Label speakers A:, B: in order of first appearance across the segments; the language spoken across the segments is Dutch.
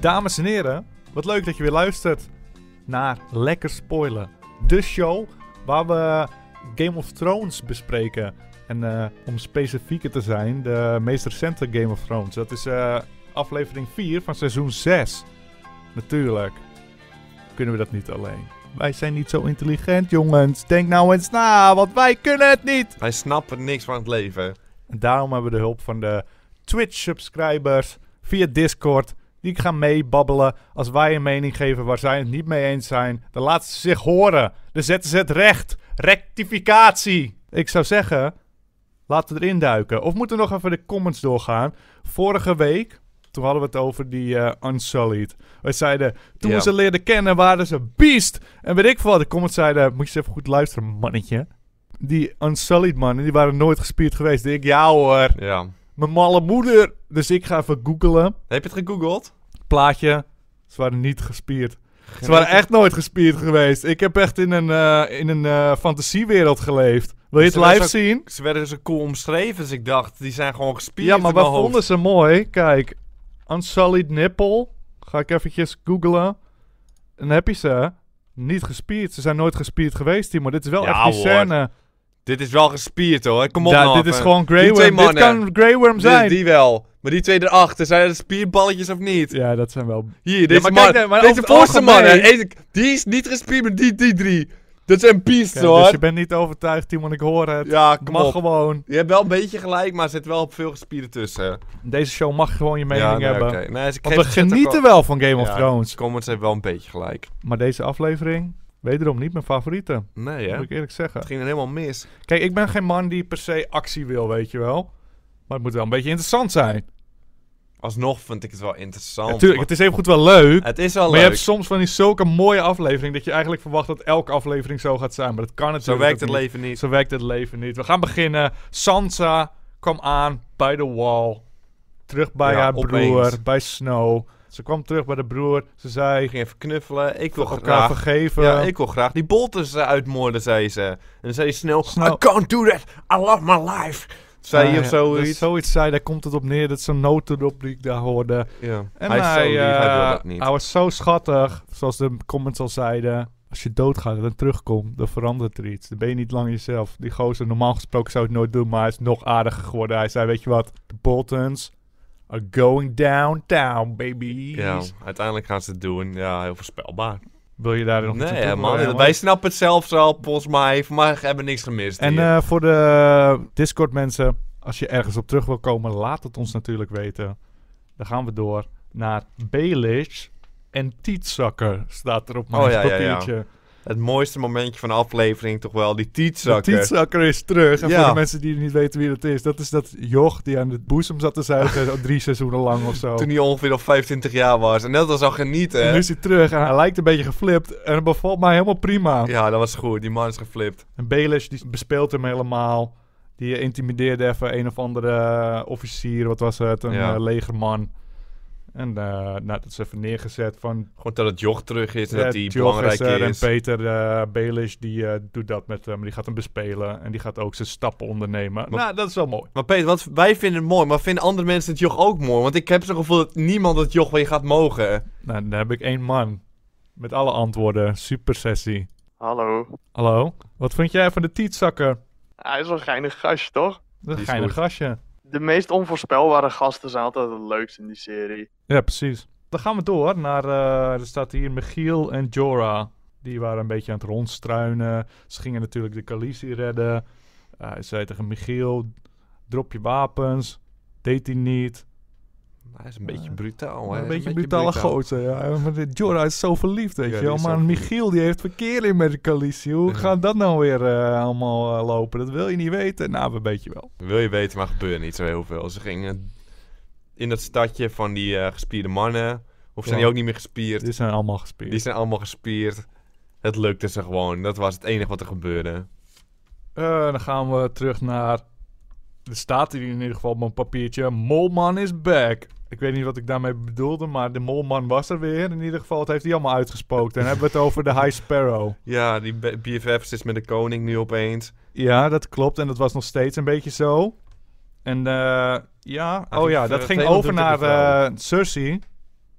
A: Dames en heren, wat leuk dat je weer luistert naar Lekker Spoilen. De show waar we Game of Thrones bespreken. En eh, om specifieker te zijn, de meest recente Game of Thrones. Dat is eh, aflevering 4 van seizoen 6. Natuurlijk kunnen we dat niet alleen. Wij zijn niet zo intelligent, jongens. Denk nou eens na, want wij kunnen het niet.
B: Hij snapt niks van het leven.
A: En daarom hebben we de hulp van de Twitch-subscribers via Discord. Die gaan meebabbelen als wij een mening geven waar zij het niet mee eens zijn. Dan laten ze zich horen. Dan zetten ze het recht. Rectificatie. Ik zou zeggen, laten we erin duiken. Of moeten we nog even de comments doorgaan. Vorige week, toen hadden we het over die eh, Unsullied. We zeiden, toen
B: Ja.
A: we ze leerden kennen waren ze een beest. En weet ik veel wat. De comments zeiden, moet je eens even goed luisteren, mannetje. Die Unsullied mannen, die waren nooit gespierd geweest. Ik, ja hoor,
B: Ja.
A: mijn malle moeder. Dus ik ga even googelen.
B: Heb je het gegoogeld?
A: Plaatje. Ze waren niet gespierd. Ze waren echt nooit gespierd geweest. Ik heb echt in een, eh, in een eh, fantasiewereld geleefd. Wil je het
B: Ze was
A: live
B: ook-
A: zien?
B: Ze werden zo cool omschreven, dus ik dacht, die zijn gewoon gespierd
A: Ja, maar
B: in
A: we
B: mijn hoofd.
A: vonden ze mooi. Kijk, Unsullied Nipple. Ga ik eventjes googlen. En dan heb je ze. Niet gespierd. Ze zijn nooit gespierd geweest, Timo. Dit is wel
B: Ja,
A: echt die
B: hoor.
A: scène.
B: Dit is wel gespierd hoor, kom op
A: Ja,
B: nou
A: dit
B: even.
A: is gewoon Grey
B: Die twee
A: Worm. Dit
B: mannen.
A: kan Grey Worm
B: Dit-
A: zijn.
B: Die wel. Maar die twee erachter, zijn dat spierballetjes of niet?
A: Ja, dat zijn wel...
B: Hier, deze
A: maar
B: man.
A: kijk nou, maar
B: deze
A: over het
B: voorste man.
A: algemeen-
B: hè. Eén- Die is niet gespierd, maar die, die drie. Dat zijn beasts
A: Kijk,
B: hoor.
A: dus je bent niet overtuigd, Timo. Ik hoor het.
B: Ja,
A: Ik
B: kom
A: mag
B: op.
A: gewoon.
B: Je hebt wel een beetje gelijk, maar er zit wel veel gespieren tussen.
A: Deze show mag gewoon je mening
B: ja, nee,
A: hebben.
B: oké. Nee, ze
A: Want we
B: geven- zetten
A: genieten
B: gewoon-
A: wel van Game of
B: Ja,
A: Thrones.
B: Comments hebben wel een beetje gelijk.
A: Maar deze aflevering, wederom niet mijn favoriete.
B: Nee hè?
A: Moet ik eerlijk zeggen.
B: Het ging er helemaal mis.
A: Kijk, ik ben geen man die per se actie wil, weet je wel. Maar het moet wel een beetje interessant zijn.
B: Alsnog vind ik het wel interessant.
A: Natuurlijk, het is even goed wel leuk.
B: maar het is wel
A: Maar
B: leuk.
A: je hebt soms van die zulke mooie aflevering dat je eigenlijk verwacht dat elke aflevering zo gaat zijn. Maar dat kan
B: Zo
A: natuurlijk
B: werkt
A: ook
B: het
A: niet.
B: leven niet.
A: Zo werkt het leven niet. We gaan beginnen. Sansa kwam aan bij de wall. Terug bij
B: Ja,
A: haar broer,
B: opeens.
A: bij Snow. Ze kwam terug bij de broer. Ze zei,
B: Ik ging even knuffelen. Ik wil
A: elkaar
B: graag...
A: vergeven.
B: Ja, ik wil graag die bolters eh, uitmoorden, zei ze. En dan zei ze snel,
A: Snel.
B: I can't do that. I love my life. Zei
A: Ah,
B: hij of
A: ja,
B: zoiets.
A: dat zoiets zei, daar komt het op neer. Dat zo'n notenop die ik daar hoorde.
B: Ja.
A: En
B: hij is zo lief, hij wil
A: eh,
B: dat niet.
A: Hij was zo schattig, zoals de comments al zeiden. Als je doodgaat en dan terugkomt, dan verandert er iets. Dan ben je niet lang jezelf. Die gozer, normaal gesproken zou het nooit doen, maar hij is nog aardiger geworden. Hij zei, weet je wat, de Boltons are going downtown, baby.
B: Ja, uiteindelijk gaan ze het doen. Ja, heel voorspelbaar.
A: Wil je daar nog iets aan
B: Nee,
A: toevoegen,
B: hè, man.
A: Herman?
B: Wij snappen het zelfs al, volgens mij. Voor mij hebben we niks gemist
A: En
B: hier.
A: eh, voor de Discord mensen, als je ergens op terug wil komen, laat het ons natuurlijk weten. Dan gaan we door naar Baelish en Tietzakker, staat er op mijn
B: Oh, ja, ja, ja.
A: papiertje.
B: Het mooiste momentje van de aflevering toch wel. Die
A: De
B: tietzakker.
A: Tietzakker is terug. En
B: Ja.
A: voor de mensen die niet weten wie dat is, dat is dat joch die aan het boezem zat te zuigen zo drie seizoenen lang of zo.
B: Toen hij ongeveer op 25 jaar was. En net als al genieten.
A: En
B: hè.
A: nu is hij terug en hij lijkt een beetje geflipt en dat bevalt mij helemaal prima.
B: Ja, dat was goed. Die man is geflipt.
A: En Baelish die bespeelt hem helemaal. Die eh, intimideerde even een of andere eh, officier, wat was het, een
B: Ja.
A: eh, legerman. En eh, nou, dat is even neergezet van...
B: Gewoon dat het joch terug is en
A: eh,
B: dat hij
A: Tjorg
B: belangrijk
A: er
B: is.
A: En Peter eh Baelish, die eh, doet dat met hem. Die gaat hem bespelen en die gaat ook zijn stappen ondernemen.
B: Maar-
A: nou, dat is wel mooi.
B: Maar Peter, wat, wij vinden het mooi, maar vinden andere mensen het joch ook mooi? Want ik heb zo'n gevoel dat niemand het joch weer gaat mogen.
A: Nou, dan heb ik één man. Met alle antwoorden. Super sessie.
C: Hallo.
A: Hallo? Wat vind jij van de eh? tietzakker?
C: Hij is wel een geinig gastje, toch?
A: Dat
B: Die
A: is
B: is
A: geen
B: goed.
A: gastje.
C: De meest onvoorspelbare gasten zijn altijd het leukst in die serie.
A: Ja, precies. Dan gaan we door naar... eh, er staat hier Michiel en Jorah. Die waren een beetje aan het rondstruinen. Ze gingen natuurlijk de Khaleesi redden. Eh, hij zei tegen Michiel... Drop je wapens. Deed hij niet.
B: Hij is een
A: Ja.
B: beetje brutaal, hè.
A: Oh, een beetje brutale gozer. Ja. Maar de Jorah is zo verliefd, weet
B: Ja,
A: je
B: die
A: wel.
B: is
A: Maar
B: zo verliefd.
A: Michiel die heeft verkering met de Khaleesi. Hoe
B: Ja.
A: gaat dat nou weer eh, allemaal eh, lopen? Dat wil je niet weten. Nou, we weet je wel.
B: Wil je weten, maar gebeurt niet zo heel veel. Ze gingen in dat stadje van die eh, gespierde mannen. Of zijn
A: Ja.
B: die ook niet meer gespierd?
A: Dit zijn allemaal gespeeld.
B: Die zijn allemaal gespierd. Het lukte ze gewoon. Dat was het enige wat er gebeurde.
A: Eh, dan gaan we terug naar... Er staat hier in ieder geval op mijn papiertje. Molman is back. Ik weet niet wat ik daarmee bedoelde, maar de Molman was er weer. In ieder geval, het heeft hij allemaal uitgespookt. En dan hebben we het over de High Sparrow.
B: Ja, die B- BFF's is met de koning nu opeens.
A: Ja, dat klopt. En dat was nog steeds een beetje zo. En eh, ja,
B: Hij
A: oh
B: ging
A: ja,
B: ver-
A: dat ging
B: Vreemd
A: over
B: doet het
A: naar
B: niet wel.
A: eh Cersei.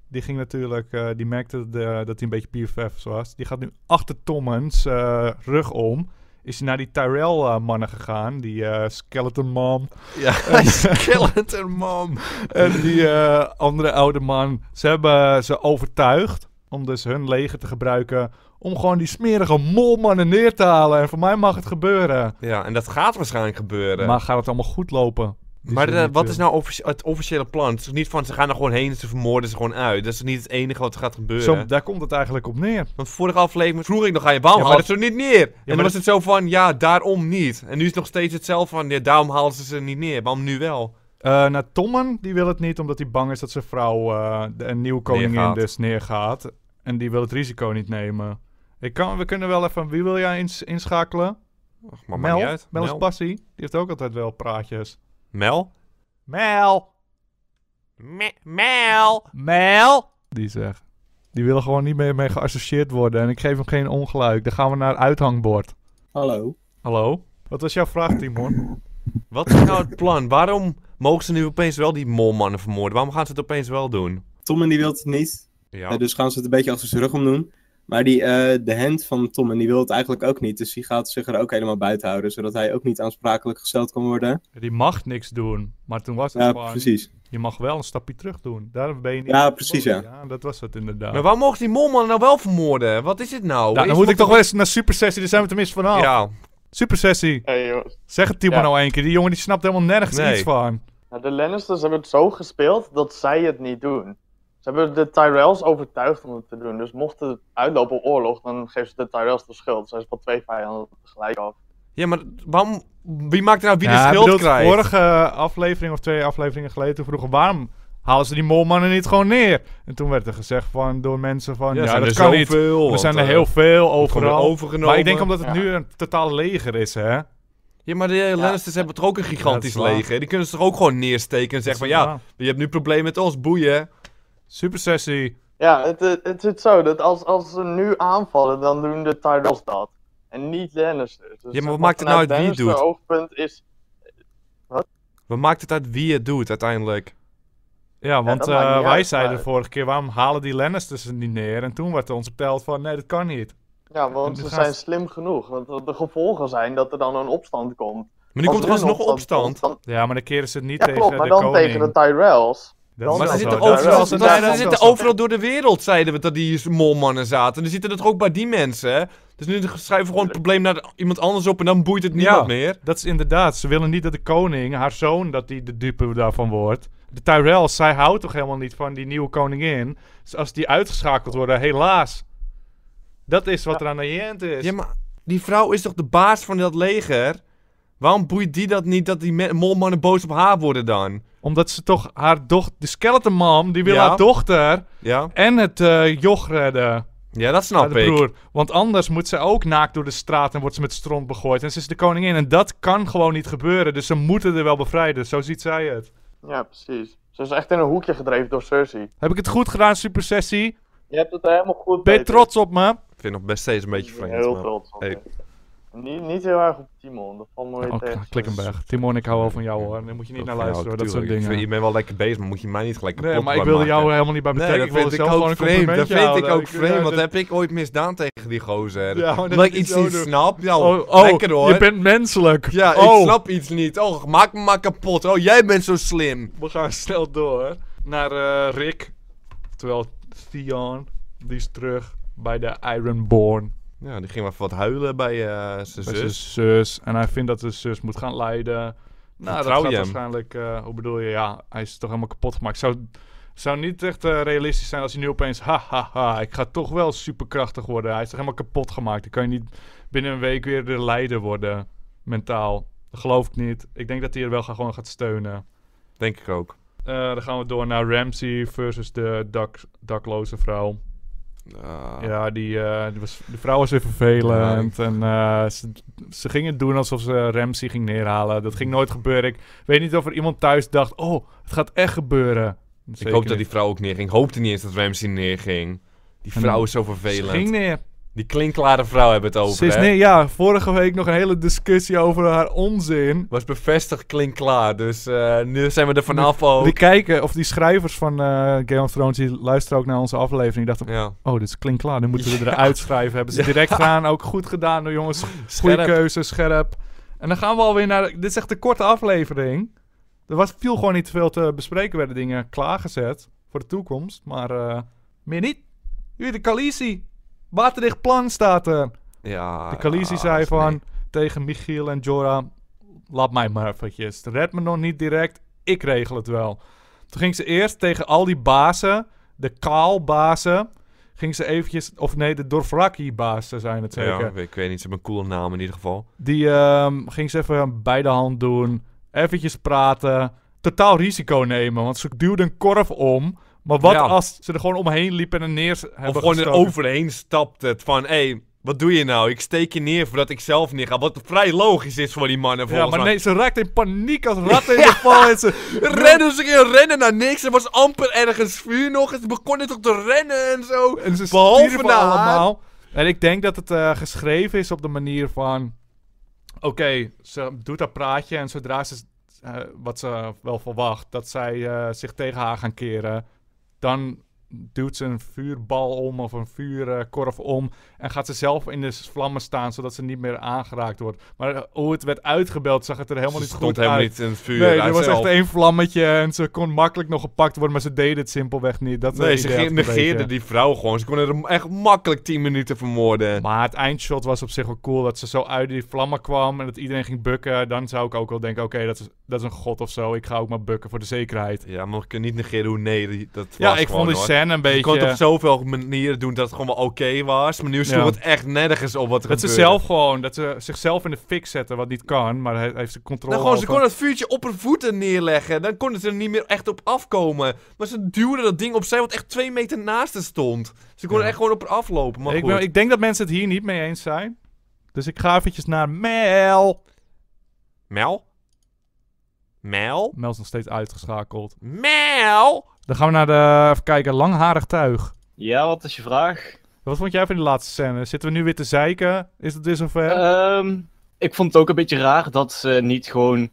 A: die ging natuurlijk, eh, die merkte de- dat hij een beetje PFF was. Die gaat nu achter Tommens eh, rug om. Is hij naar die Tyrell-mannen gegaan, die eh, Skeleton Mom.
B: Ja, hij is Skeleton Mom.
A: En die eh, andere oude man, ze hebben ze overtuigd om dus hun leger te gebruiken om gewoon die smerige molmannen neer te halen. En voor mij mag het gebeuren.
B: Ja, en dat gaat waarschijnlijk gebeuren.
A: Maar gaat het allemaal goed lopen? Die
B: Maar
A: zullen
B: eh,
A: niet,
B: wat
A: eh,
B: is nou offici- het officiële plan? Het is toch niet van ze gaan er gewoon heen en ze vermoorden ze gewoon uit. Dat is toch niet het enige wat gaat gebeuren.
A: Zo, daar komt het eigenlijk op neer.
B: Want vorige aflevering vroeg ik nog aan je, waarom
A: Ja, maar
B: halen ze er niet neer? en dan
A: maar dat-
B: was het zo van, ja, daarom niet. En nu is het nog steeds hetzelfde van, ja, daarom halen ze ze niet neer. Waarom nu wel?
A: Eh nou, Tommen, die wil het niet omdat hij bang is dat zijn vrouw eh, de- een nieuwe koningin
B: Neergaat.
A: dus neergaat. En die wil het risico niet nemen. Ik kan, we kunnen wel even... Wie wil jij ins- inschakelen?
B: Ach, maar maakt
A: Mel?
B: niet uit.
A: Mel is
B: Mel?
A: passie. Die heeft ook altijd wel praatjes.
B: Mel?
A: Mel!
B: Me- Mel!
A: Mel! Die zegt. Die willen gewoon niet meer mee geassocieerd worden. En ik geef hem geen ongelijk. Dan gaan we naar het uithangbord.
D: Hallo.
A: Hallo? Wat was jouw vraag, Timon?
B: Wat is nou het plan? Waarom mogen ze nu opeens wel die molmannen vermoorden? Waarom gaan ze het opeens wel doen?
D: Tom en die wil het niet.
B: Ja,
D: eh, Dus gaan ze het een beetje achter zijn rug om doen. Maar die, eh, de hand van Tom en die wil het eigenlijk ook niet. Dus die gaat zich er ook helemaal buiten houden. Zodat hij ook niet aansprakelijk gesteld kan worden.
A: Die mag niks doen. Maar toen was het
D: Ja,
A: gewoon...
D: precies.
A: Je mag wel een stapje terug doen. Daar ben je niet...
D: Ja, precies, ja.
A: dat was het inderdaad.
B: maar waarom mogen ze die molmannen nou wel vermoorden? Wat is dit nou?
A: Nou,
B: Is
A: dan moet
B: wat
A: ik toch
B: er-
A: wel eens naar Super Sessie, daar zijn we tenminste vanaf.
B: Ja,
A: Super Sessie,
C: Hey, joh.
A: zeg het Timo
C: Ja.
A: nou één keer. Die jongen die snapt helemaal nergens
B: Nee.
A: iets van.
C: Nou, de Lannisters hebben het zo gespeeld dat zij het niet doen. Ze hebben de Tyrells overtuigd om het te doen. Dus mocht het uitlopen op oorlog, dan geven ze de Tyrells de schuld. Zijn ze van twee vijanden tegelijk af.
B: ja maar waarom... Wie maakt er nou wie
A: Ja,
B: de
A: ik
B: schuld
A: bedoel,
B: krijgt?
A: Vorige aflevering of twee afleveringen geleden toen vroegen waarom halen ze die molmannen niet gewoon neer? En toen werd er gezegd van, door mensen van, ja,
B: zijn
A: dat
B: er
A: kan niet.
B: zoveel,
A: We
B: want,
A: zijn er
B: eh,
A: heel veel
B: worden
A: overal.
B: overgenomen.
A: Maar ik denk omdat het
C: Ja.
A: nu een totaal leger is, hè?
B: Ja, maar de eh, Lannisters hebben toch ook een gigantisch
A: Ja, dat is waar.
B: leger? Die kunnen ze toch ook gewoon neersteken en zeggen van, ja, je hebt nu probleem met ons, boeien.
A: Super Sessie.
C: Ja, het, het, het zit zo dat als, als ze nu aanvallen, dan doen de Tyrells dat. En niet Lannisters. Dus
B: Ja, maar
C: zeg
B: wat maakt het nou uit
C: vanuit
B: wie het doet?
C: Lannister oogpunt is...
B: Wat maakt het uit wie het doet uiteindelijk?
A: Ja, want
C: dat maakt
A: eh,
C: niet
A: wij
C: uit,
A: zeiden
C: maar-
A: vorige keer, waarom halen die Lannisters het niet neer? En toen werd er ons verteld van, nee, dat kan niet.
C: Ja,
A: En
C: want
A: de
C: ze
A: gast-
C: zijn slim genoeg. Want de gevolgen zijn dat er dan een opstand komt.
B: Maar nu komt er
C: Als
B: alsnog opstand.
C: komt,
A: Ja, maar dan keren ze het niet
C: dan- Ja,
A: tegen
C: klopt, maar
A: de
C: dan
A: koning.
C: tegen de Tyrells.
A: Dat is
B: Maar
C: Dan
B: ze
A: wel
C: is het
A: zo.
B: zitten
C: daar-
A: Dat is wel
B: overal,
C: daar-
A: zo.
B: ze
C: daar-
A: Dat
C: daar-
A: is
B: zitten
A: wel zo.
B: overal door de wereld, zeiden we dat die molmannen zaten. En er zitten er toch ook bij die mensen, hè? Dus nu schrijven we gewoon het probleem naar de- iemand anders op en dan boeit het niemand
A: Ja.
B: meer.
A: Dat is inderdaad. Ze willen niet dat de koning, haar zoon, dat die de dupe daarvan wordt. De Tyrells, zij houdt toch helemaal niet van die nieuwe koningin. Dus als die uitgeschakeld worden, helaas. Dat is wat er aan de hand is.
B: Ja, maar die vrouw is toch de baas van dat leger? Waarom boeit die dat niet dat die me- molmannen boos op haar worden dan?
A: Omdat ze toch haar dochter, de skeleton mom, die wil
B: Ja.
A: haar dochter
B: Ja,
A: en het eh, joch redden.
B: ja dat
A: haar
B: snap
A: de
B: ik.
A: broer. Want anders moet ze ook naakt door de straat en wordt ze met stront begooid. En ze is de koningin en dat kan gewoon niet gebeuren. Dus ze moeten er wel bevrijden. Zo ziet zij het.
C: Ja, precies. Ze is echt in een hoekje gedreven door Cersei.
A: Heb ik het goed gedaan, Super Sessie?
C: Je hebt het helemaal goed
A: Ben je
C: Peter.
A: trots op me?
B: Ik vind het nog best steeds een beetje
C: Ik
B: vreemd.
C: ben Heel
B: maar-
C: trots. op
B: Hey.
C: je. Niet, niet heel erg op Timon, dat valt me weer
A: Oh,
C: tegen.
B: dus-
A: Klikkenberg. Timon, ik hou wel van jou hoor. Daar moet je niet naar
B: Van jou,
A: luisteren, dat soort
B: tuurlijk. Ik vind- Je
A: dingen.
B: bent wel lekker bezig, maar moet je mij niet gelijk kapot
A: Nee, maar ik
B: bij
A: wilde
B: maken.
A: jou helemaal niet bij
B: Nee,
A: betrekken.
B: dat
A: ik wilde
B: vind ik
A: zelf gewoon
B: ook
A: een
B: vreemd. Dat
A: complimentje
B: vind ik
A: houden.
B: ook vreemd. Wat
A: dat-
B: heb ik ooit misdaan tegen die gozer?
A: Ja, maar dat
B: Omdat ik
A: je
B: iets
A: zo
B: niet
A: doet.
B: snap? Ja,
A: Oh, oh,
B: lekker hoor.
A: je bent menselijk.
B: Ja,
A: Oh.
B: ik snap iets niet. Oh, maak me maar kapot. Oh, jij bent zo slim.
A: We gaan snel door naar eh, Rick. Terwijl Theon, die is terug bij de Ironborn.
B: Ja, die ging maar even wat huilen bij eh zijn
A: Bij zijn
B: zus.
A: zus. En hij vindt dat de zus moet gaan leiden. Nou, dat
B: Vertrouw
A: gaat
B: je hem?
A: waarschijnlijk... eh, hoe bedoel je? Ja, hij is toch helemaal kapot gemaakt. Zou, zou niet echt eh, realistisch zijn als hij nu opeens... Ha, ha, ha, ik ga toch wel superkrachtig worden. Hij is toch helemaal kapot gemaakt. Dan kan je niet binnen een week weer de leider worden. Mentaal. Dat geloof ik niet. Ik denk dat hij er wel ga- gewoon gaat steunen.
B: Denk ik ook.
A: Eh, dan gaan we door naar Ramsey versus de dak, dakloze vrouw.
B: Ah.
A: Ja, die, eh, die was, de vrouw was weer vervelend. En eh, ze, ze gingen doen alsof ze Ramsey ging neerhalen. Dat ging nooit gebeuren. Ik weet niet of er iemand thuis dacht: oh, het gaat echt gebeuren.
B: ik hoop dat die vrouw ook neerging. Ik hoopte niet eens dat Ramsey neerging. Die vrouw is zo
A: Ze
B: vervelend.
A: ging neer.
B: Die klinkklare vrouw hebben het over.
A: Ze is
B: hè?
A: nee, ja, vorige week nog een hele discussie over haar onzin.
B: Was bevestigd klinkklaar. Dus eh, nu zijn we er vanaf ook.
A: Die kijken, of die schrijvers van eh, Game of Thrones, die luisteren ook naar onze aflevering. Die dachten,
B: Ja.
A: oh, dit klinkt klaar, nu moeten we
B: Ja.
A: eruit schrijven. Hebben ze direct gedaan, ook goed gedaan door jongens. Goede
B: Scherp.
A: keuze, scherp. En dan gaan we alweer naar, dit is echt een korte aflevering. Er was, viel gewoon niet veel te bespreken, werden dingen klaargezet voor de toekomst. Maar eh, meer niet. Jullie, de Khaleesi. Waterdicht plan staat er.
B: Ja, ah,
A: De Khaleesi
B: ja,
A: zei
B: nee.
A: van tegen Michiel en Jorah... Laat mij maar eventjes. Red me nog niet direct. Ik regel het wel. Toen ging ze eerst tegen al die bazen... De Kaal-bazen... Ging ze eventjes... Of nee, de Dorfraki-bazen zijn het zeker.
B: Ja, ik weet- ik weet niet, ze hebben een coole naam in ieder geval.
A: Die ehm, ging ze even bij de hand doen. Eventjes praten. Totaal risico nemen. Want ze duwde een korf om. Maar wat
B: Ja.
A: als ze er gewoon omheen liep en er neer s- hebben
B: Of gewoon er
A: gestoken?
B: overheen stapt het van, hé, hey, wat doe je nou? Ik steek je neer voordat ik zelf neerga. Wat vrij logisch is voor die mannen
A: Ja,
B: volgens
A: maar
B: mij.
A: nee, ze raakte in paniek als ratten in de val. En ze,
B: Rennen, ze gingen rennen naar niks. Er was amper ergens vuur nog. en Ze begonnen toch te rennen en zo.
A: en ze
B: Behalve
A: stierven
B: naar haar.
A: allemaal. En ik denk dat het eh, geschreven is op de manier van... Oké, ze doet haar praatje en zodra ze... eh, wat ze wel verwacht, dat zij eh, zich tegen haar gaan keren. Dan duwt ze een vuurbal om of een vuurkorf om. En gaat ze zelf in de vlammen saan, zodat ze niet meer aangeraakt wordt. Maar eh, hoe het werd uitgebeld, zag het er helemaal
B: Ze
A: niet
B: stond
A: goed
B: helemaal
A: uit.
B: niet in het vuur.
A: Nee, er
B: uit
A: was echt
B: zelf.
A: één vlammetje en ze kon makkelijk nog gepakt worden, maar ze deed het simpelweg niet. Dat
B: Nee,
A: idee
B: ze
A: had ik
B: ging-
A: een
B: negeerde
A: beetje.
B: die vrouw gewoon. Ze konden er echt makkelijk 10 minuten vermoorden.
A: Maar het eindshot was op zich wel cool, dat ze zo uit die vlammen kwam en dat iedereen ging bukken. Dan zou ik ook wel denken, oké, dat, is, dat is een god of zo, ik ga ook maar bukken voor de zekerheid.
B: Ja, maar we kunnen niet negeren hoe nee die- dat was
A: Ja, ik
B: gewoon,
A: vond die
B: hoor.
A: scène een
B: Je kon het op
A: beetje... eh,
B: zoveel manieren doen dat het gewoon wel oké was. Maar nu sloeg
A: Ja.
B: het echt nergens op wat er
A: Dat ze
B: gebeurde.
A: zelf gewoon, dat ze zichzelf in de fik zetten, wat niet kan, maar hij heeft ze controle
B: Nou, gewoon, ze
A: over.
B: kon het vuurtje op hun voeten neerleggen. Dan konden ze er niet meer echt op afkomen. Maar ze duwden dat ding opzij wat echt twee meter naast haar stond. Ze konden
A: Ja.
B: echt gewoon op haar aflopen. Maar
A: ik,
B: goed.
A: ben- ik denk dat mensen het hier niet mee eens zijn. Dus ik ga eventjes naar Mel.
B: Mel? Mel?
A: Mel is nog steeds uitgeschakeld.
B: Mel?
A: Dan gaan we naar de, even kijken, langharig tuig.
E: Ja, wat is je vraag?
A: Wat vond jij van die laatste scène? Zitten we nu weer te zeiken? Is het weer zover?
E: Ehm, ik vond het ook een beetje raar dat ze niet gewoon.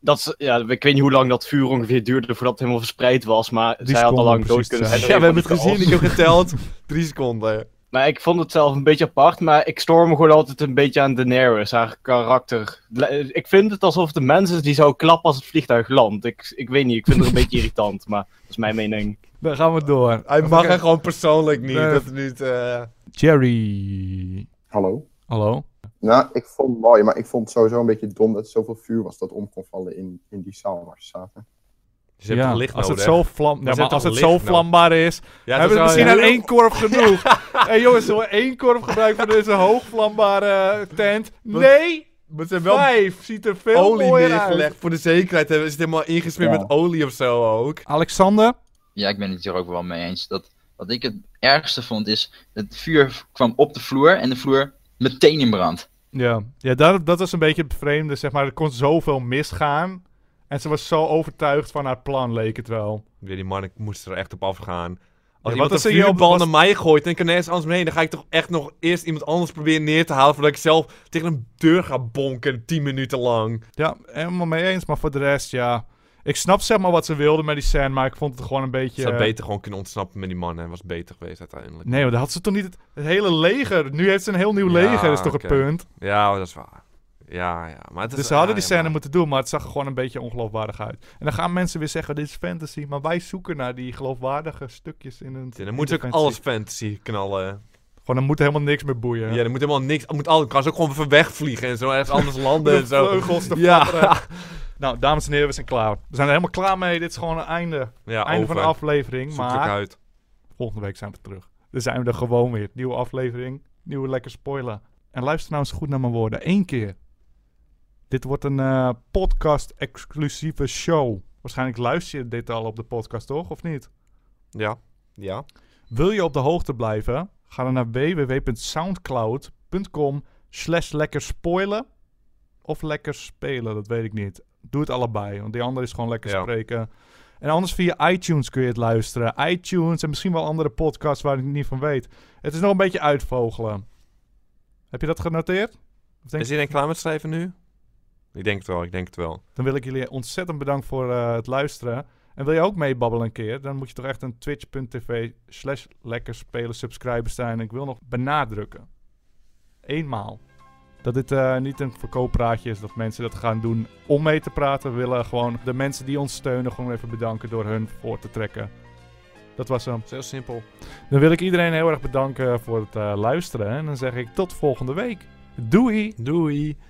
E: Dat ze, ja, ik weet niet hoe lang dat vuur ongeveer duurde voordat het helemaal verspreid was, maar
A: Drie
E: zij had al
A: seconden
E: lang
A: om
E: dood
A: precies te
E: kunnen
A: zijn.
E: zijn.
B: Ja, we hebben het gezien. Ik heb geteld. Drie seconden.
E: Maar ik vond het zelf een beetje apart, maar ik stoor me gewoon altijd een beetje aan Daenerys, haar karakter. Le- Ik vind het alsof het een mens is die zou klappen als het vliegtuig landt. Ik, ik weet niet, ik vind het een beetje irritant, maar dat is mijn mening.
A: Dan gaan we door.
B: Hij mag er gewoon persoonlijk niet.
A: Nee.
B: Dat is niet... eh,
A: Jerry.
F: Hallo?
A: Hallo?
F: Nou, ik vond het mooi, maar ik vond het sowieso een beetje dom dat er zoveel vuur was dat om kon vallen in, in die zaal waar ze zaten.
B: Ze hebben toch licht
A: als het
B: nodig.
A: zo, vlam... ja,
B: hebt
A: maar
B: toch
A: als het
B: licht
A: zo
B: nodig?
A: vlambaar is,
B: Ja,
A: hebben we
B: dat is
A: misschien
B: wel-
A: aan één korf genoeg. Hé jongens, zullen we één korf gebruiken voor deze hoogvlambare tent?
B: Wat-
A: Nee!
B: Maar ze hebben wel
A: Vijf! Ziet er veel
B: olie
A: mooier
B: neergelegd.
A: uit.
B: Voor de zekerheid hebben is het helemaal ingesmeerd
F: Ja.
B: met olie of zo ook.
A: Alexander?
G: Ja, ik ben het hier ook wel mee eens. Dat, wat ik het ergste vond is, het vuur kwam op de vloer en de vloer meteen in brand.
A: Ja, ja dat, dat was een beetje het vreemde, zeg maar. Er kon zoveel misgaan. En ze was zo overtuigd van haar plan, leek het wel.
B: Weer die man, ik moest er echt op afgaan.
A: wat
B: Als iemand
A: als
B: een
A: ze je op-
B: vuurbal
A: als-
B: naar mij gooit en ik kan nergens anders mee heen, dan ga ik toch echt nog eerst iemand anders proberen neer te halen voordat ik zelf tegen een deur ga bonken 10 minuten lang.
A: Ja, helemaal mee eens. Maar voor de rest, ja. Ik snap zeg maar wat ze wilden met die scène, maar ik vond het gewoon een
B: Ze
A: beetje...
B: had beter gewoon kunnen ontsnappen met die man en was beter geweest uiteindelijk.
A: Nee, want dan had ze toch niet het, het hele leger. Nu heeft ze een heel nieuw
B: Ja,
A: leger, is toch
B: oké.
A: het punt.
B: Ja, dat is waar. Ja, ja. Maar het is,
A: Dus ze hadden
B: ah,
A: die
B: ja,
A: scène
B: maar-
A: moeten doen, maar het zag er gewoon een beetje ongeloofwaardig uit. En dan gaan mensen weer zeggen, dit is fantasy, maar wij zoeken naar die geloofwaardige stukjes in een...
B: Ja,
A: in
B: dan moet
A: de
B: ze ook
A: fantasy.
B: alles fantasy knallen.
A: Gewoon, dan moet helemaal niks meer boeien.
B: Ja, dan moet helemaal niks. Moet alles, kan ze ook gewoon even wegvliegen en zo ergens anders landen
A: de
B: en zo.
A: vleugels te flapperen.
B: Ja,
A: Nou, dames en heren, we zijn klaar. We zijn er helemaal klaar mee. Dit is gewoon een einde.
B: ja
A: einde van de
B: over.
A: aflevering,
B: Zoek het
A: maar...
B: uit.
A: Volgende week zijn we terug. Dan zijn we er gewoon weer. Nieuwe aflevering, nieuwe lekker spoiler. En luister nou eens goed naar mijn woorden. Eén keer. Dit wordt een eh, podcast-exclusieve show. Waarschijnlijk luister je dit al op de podcast, toch? Of niet?
B: Ja, ja.
A: Wil je op de hoogte blijven? Ga dan naar www.soundcloud.com slash lekker spoilen of lekker spelen, dat weet ik niet. Doe het allebei, want die andere is gewoon lekker
B: Ja.
A: spreken. En anders via iTunes kun je het luisteren. iTunes en misschien wel andere podcasts waar ik niet van weet. Het is nog een beetje uitvogelen. Heb je dat genoteerd? Of denk
B: Is iedereen klaar met schrijven nu? Ik denk het wel, ik denk het wel.
A: Dan wil ik jullie ontzettend bedanken voor eh, het luisteren. En wil je ook meebabbelen een keer? Dan moet je toch echt een twitch.tv slash lekker spelen subscriber zijn. En ik wil nog benadrukken. Eenmaal. Dat dit eh, niet een verkooppraatje is dat mensen dat gaan doen om mee te praten. We willen gewoon de mensen die ons steunen gewoon even bedanken door hun voor te trekken. Dat was hem.
B: Het is heel simpel.
A: Dan wil ik iedereen heel erg bedanken voor het eh, luisteren. En dan zeg ik tot volgende week. Doei!
B: Doei.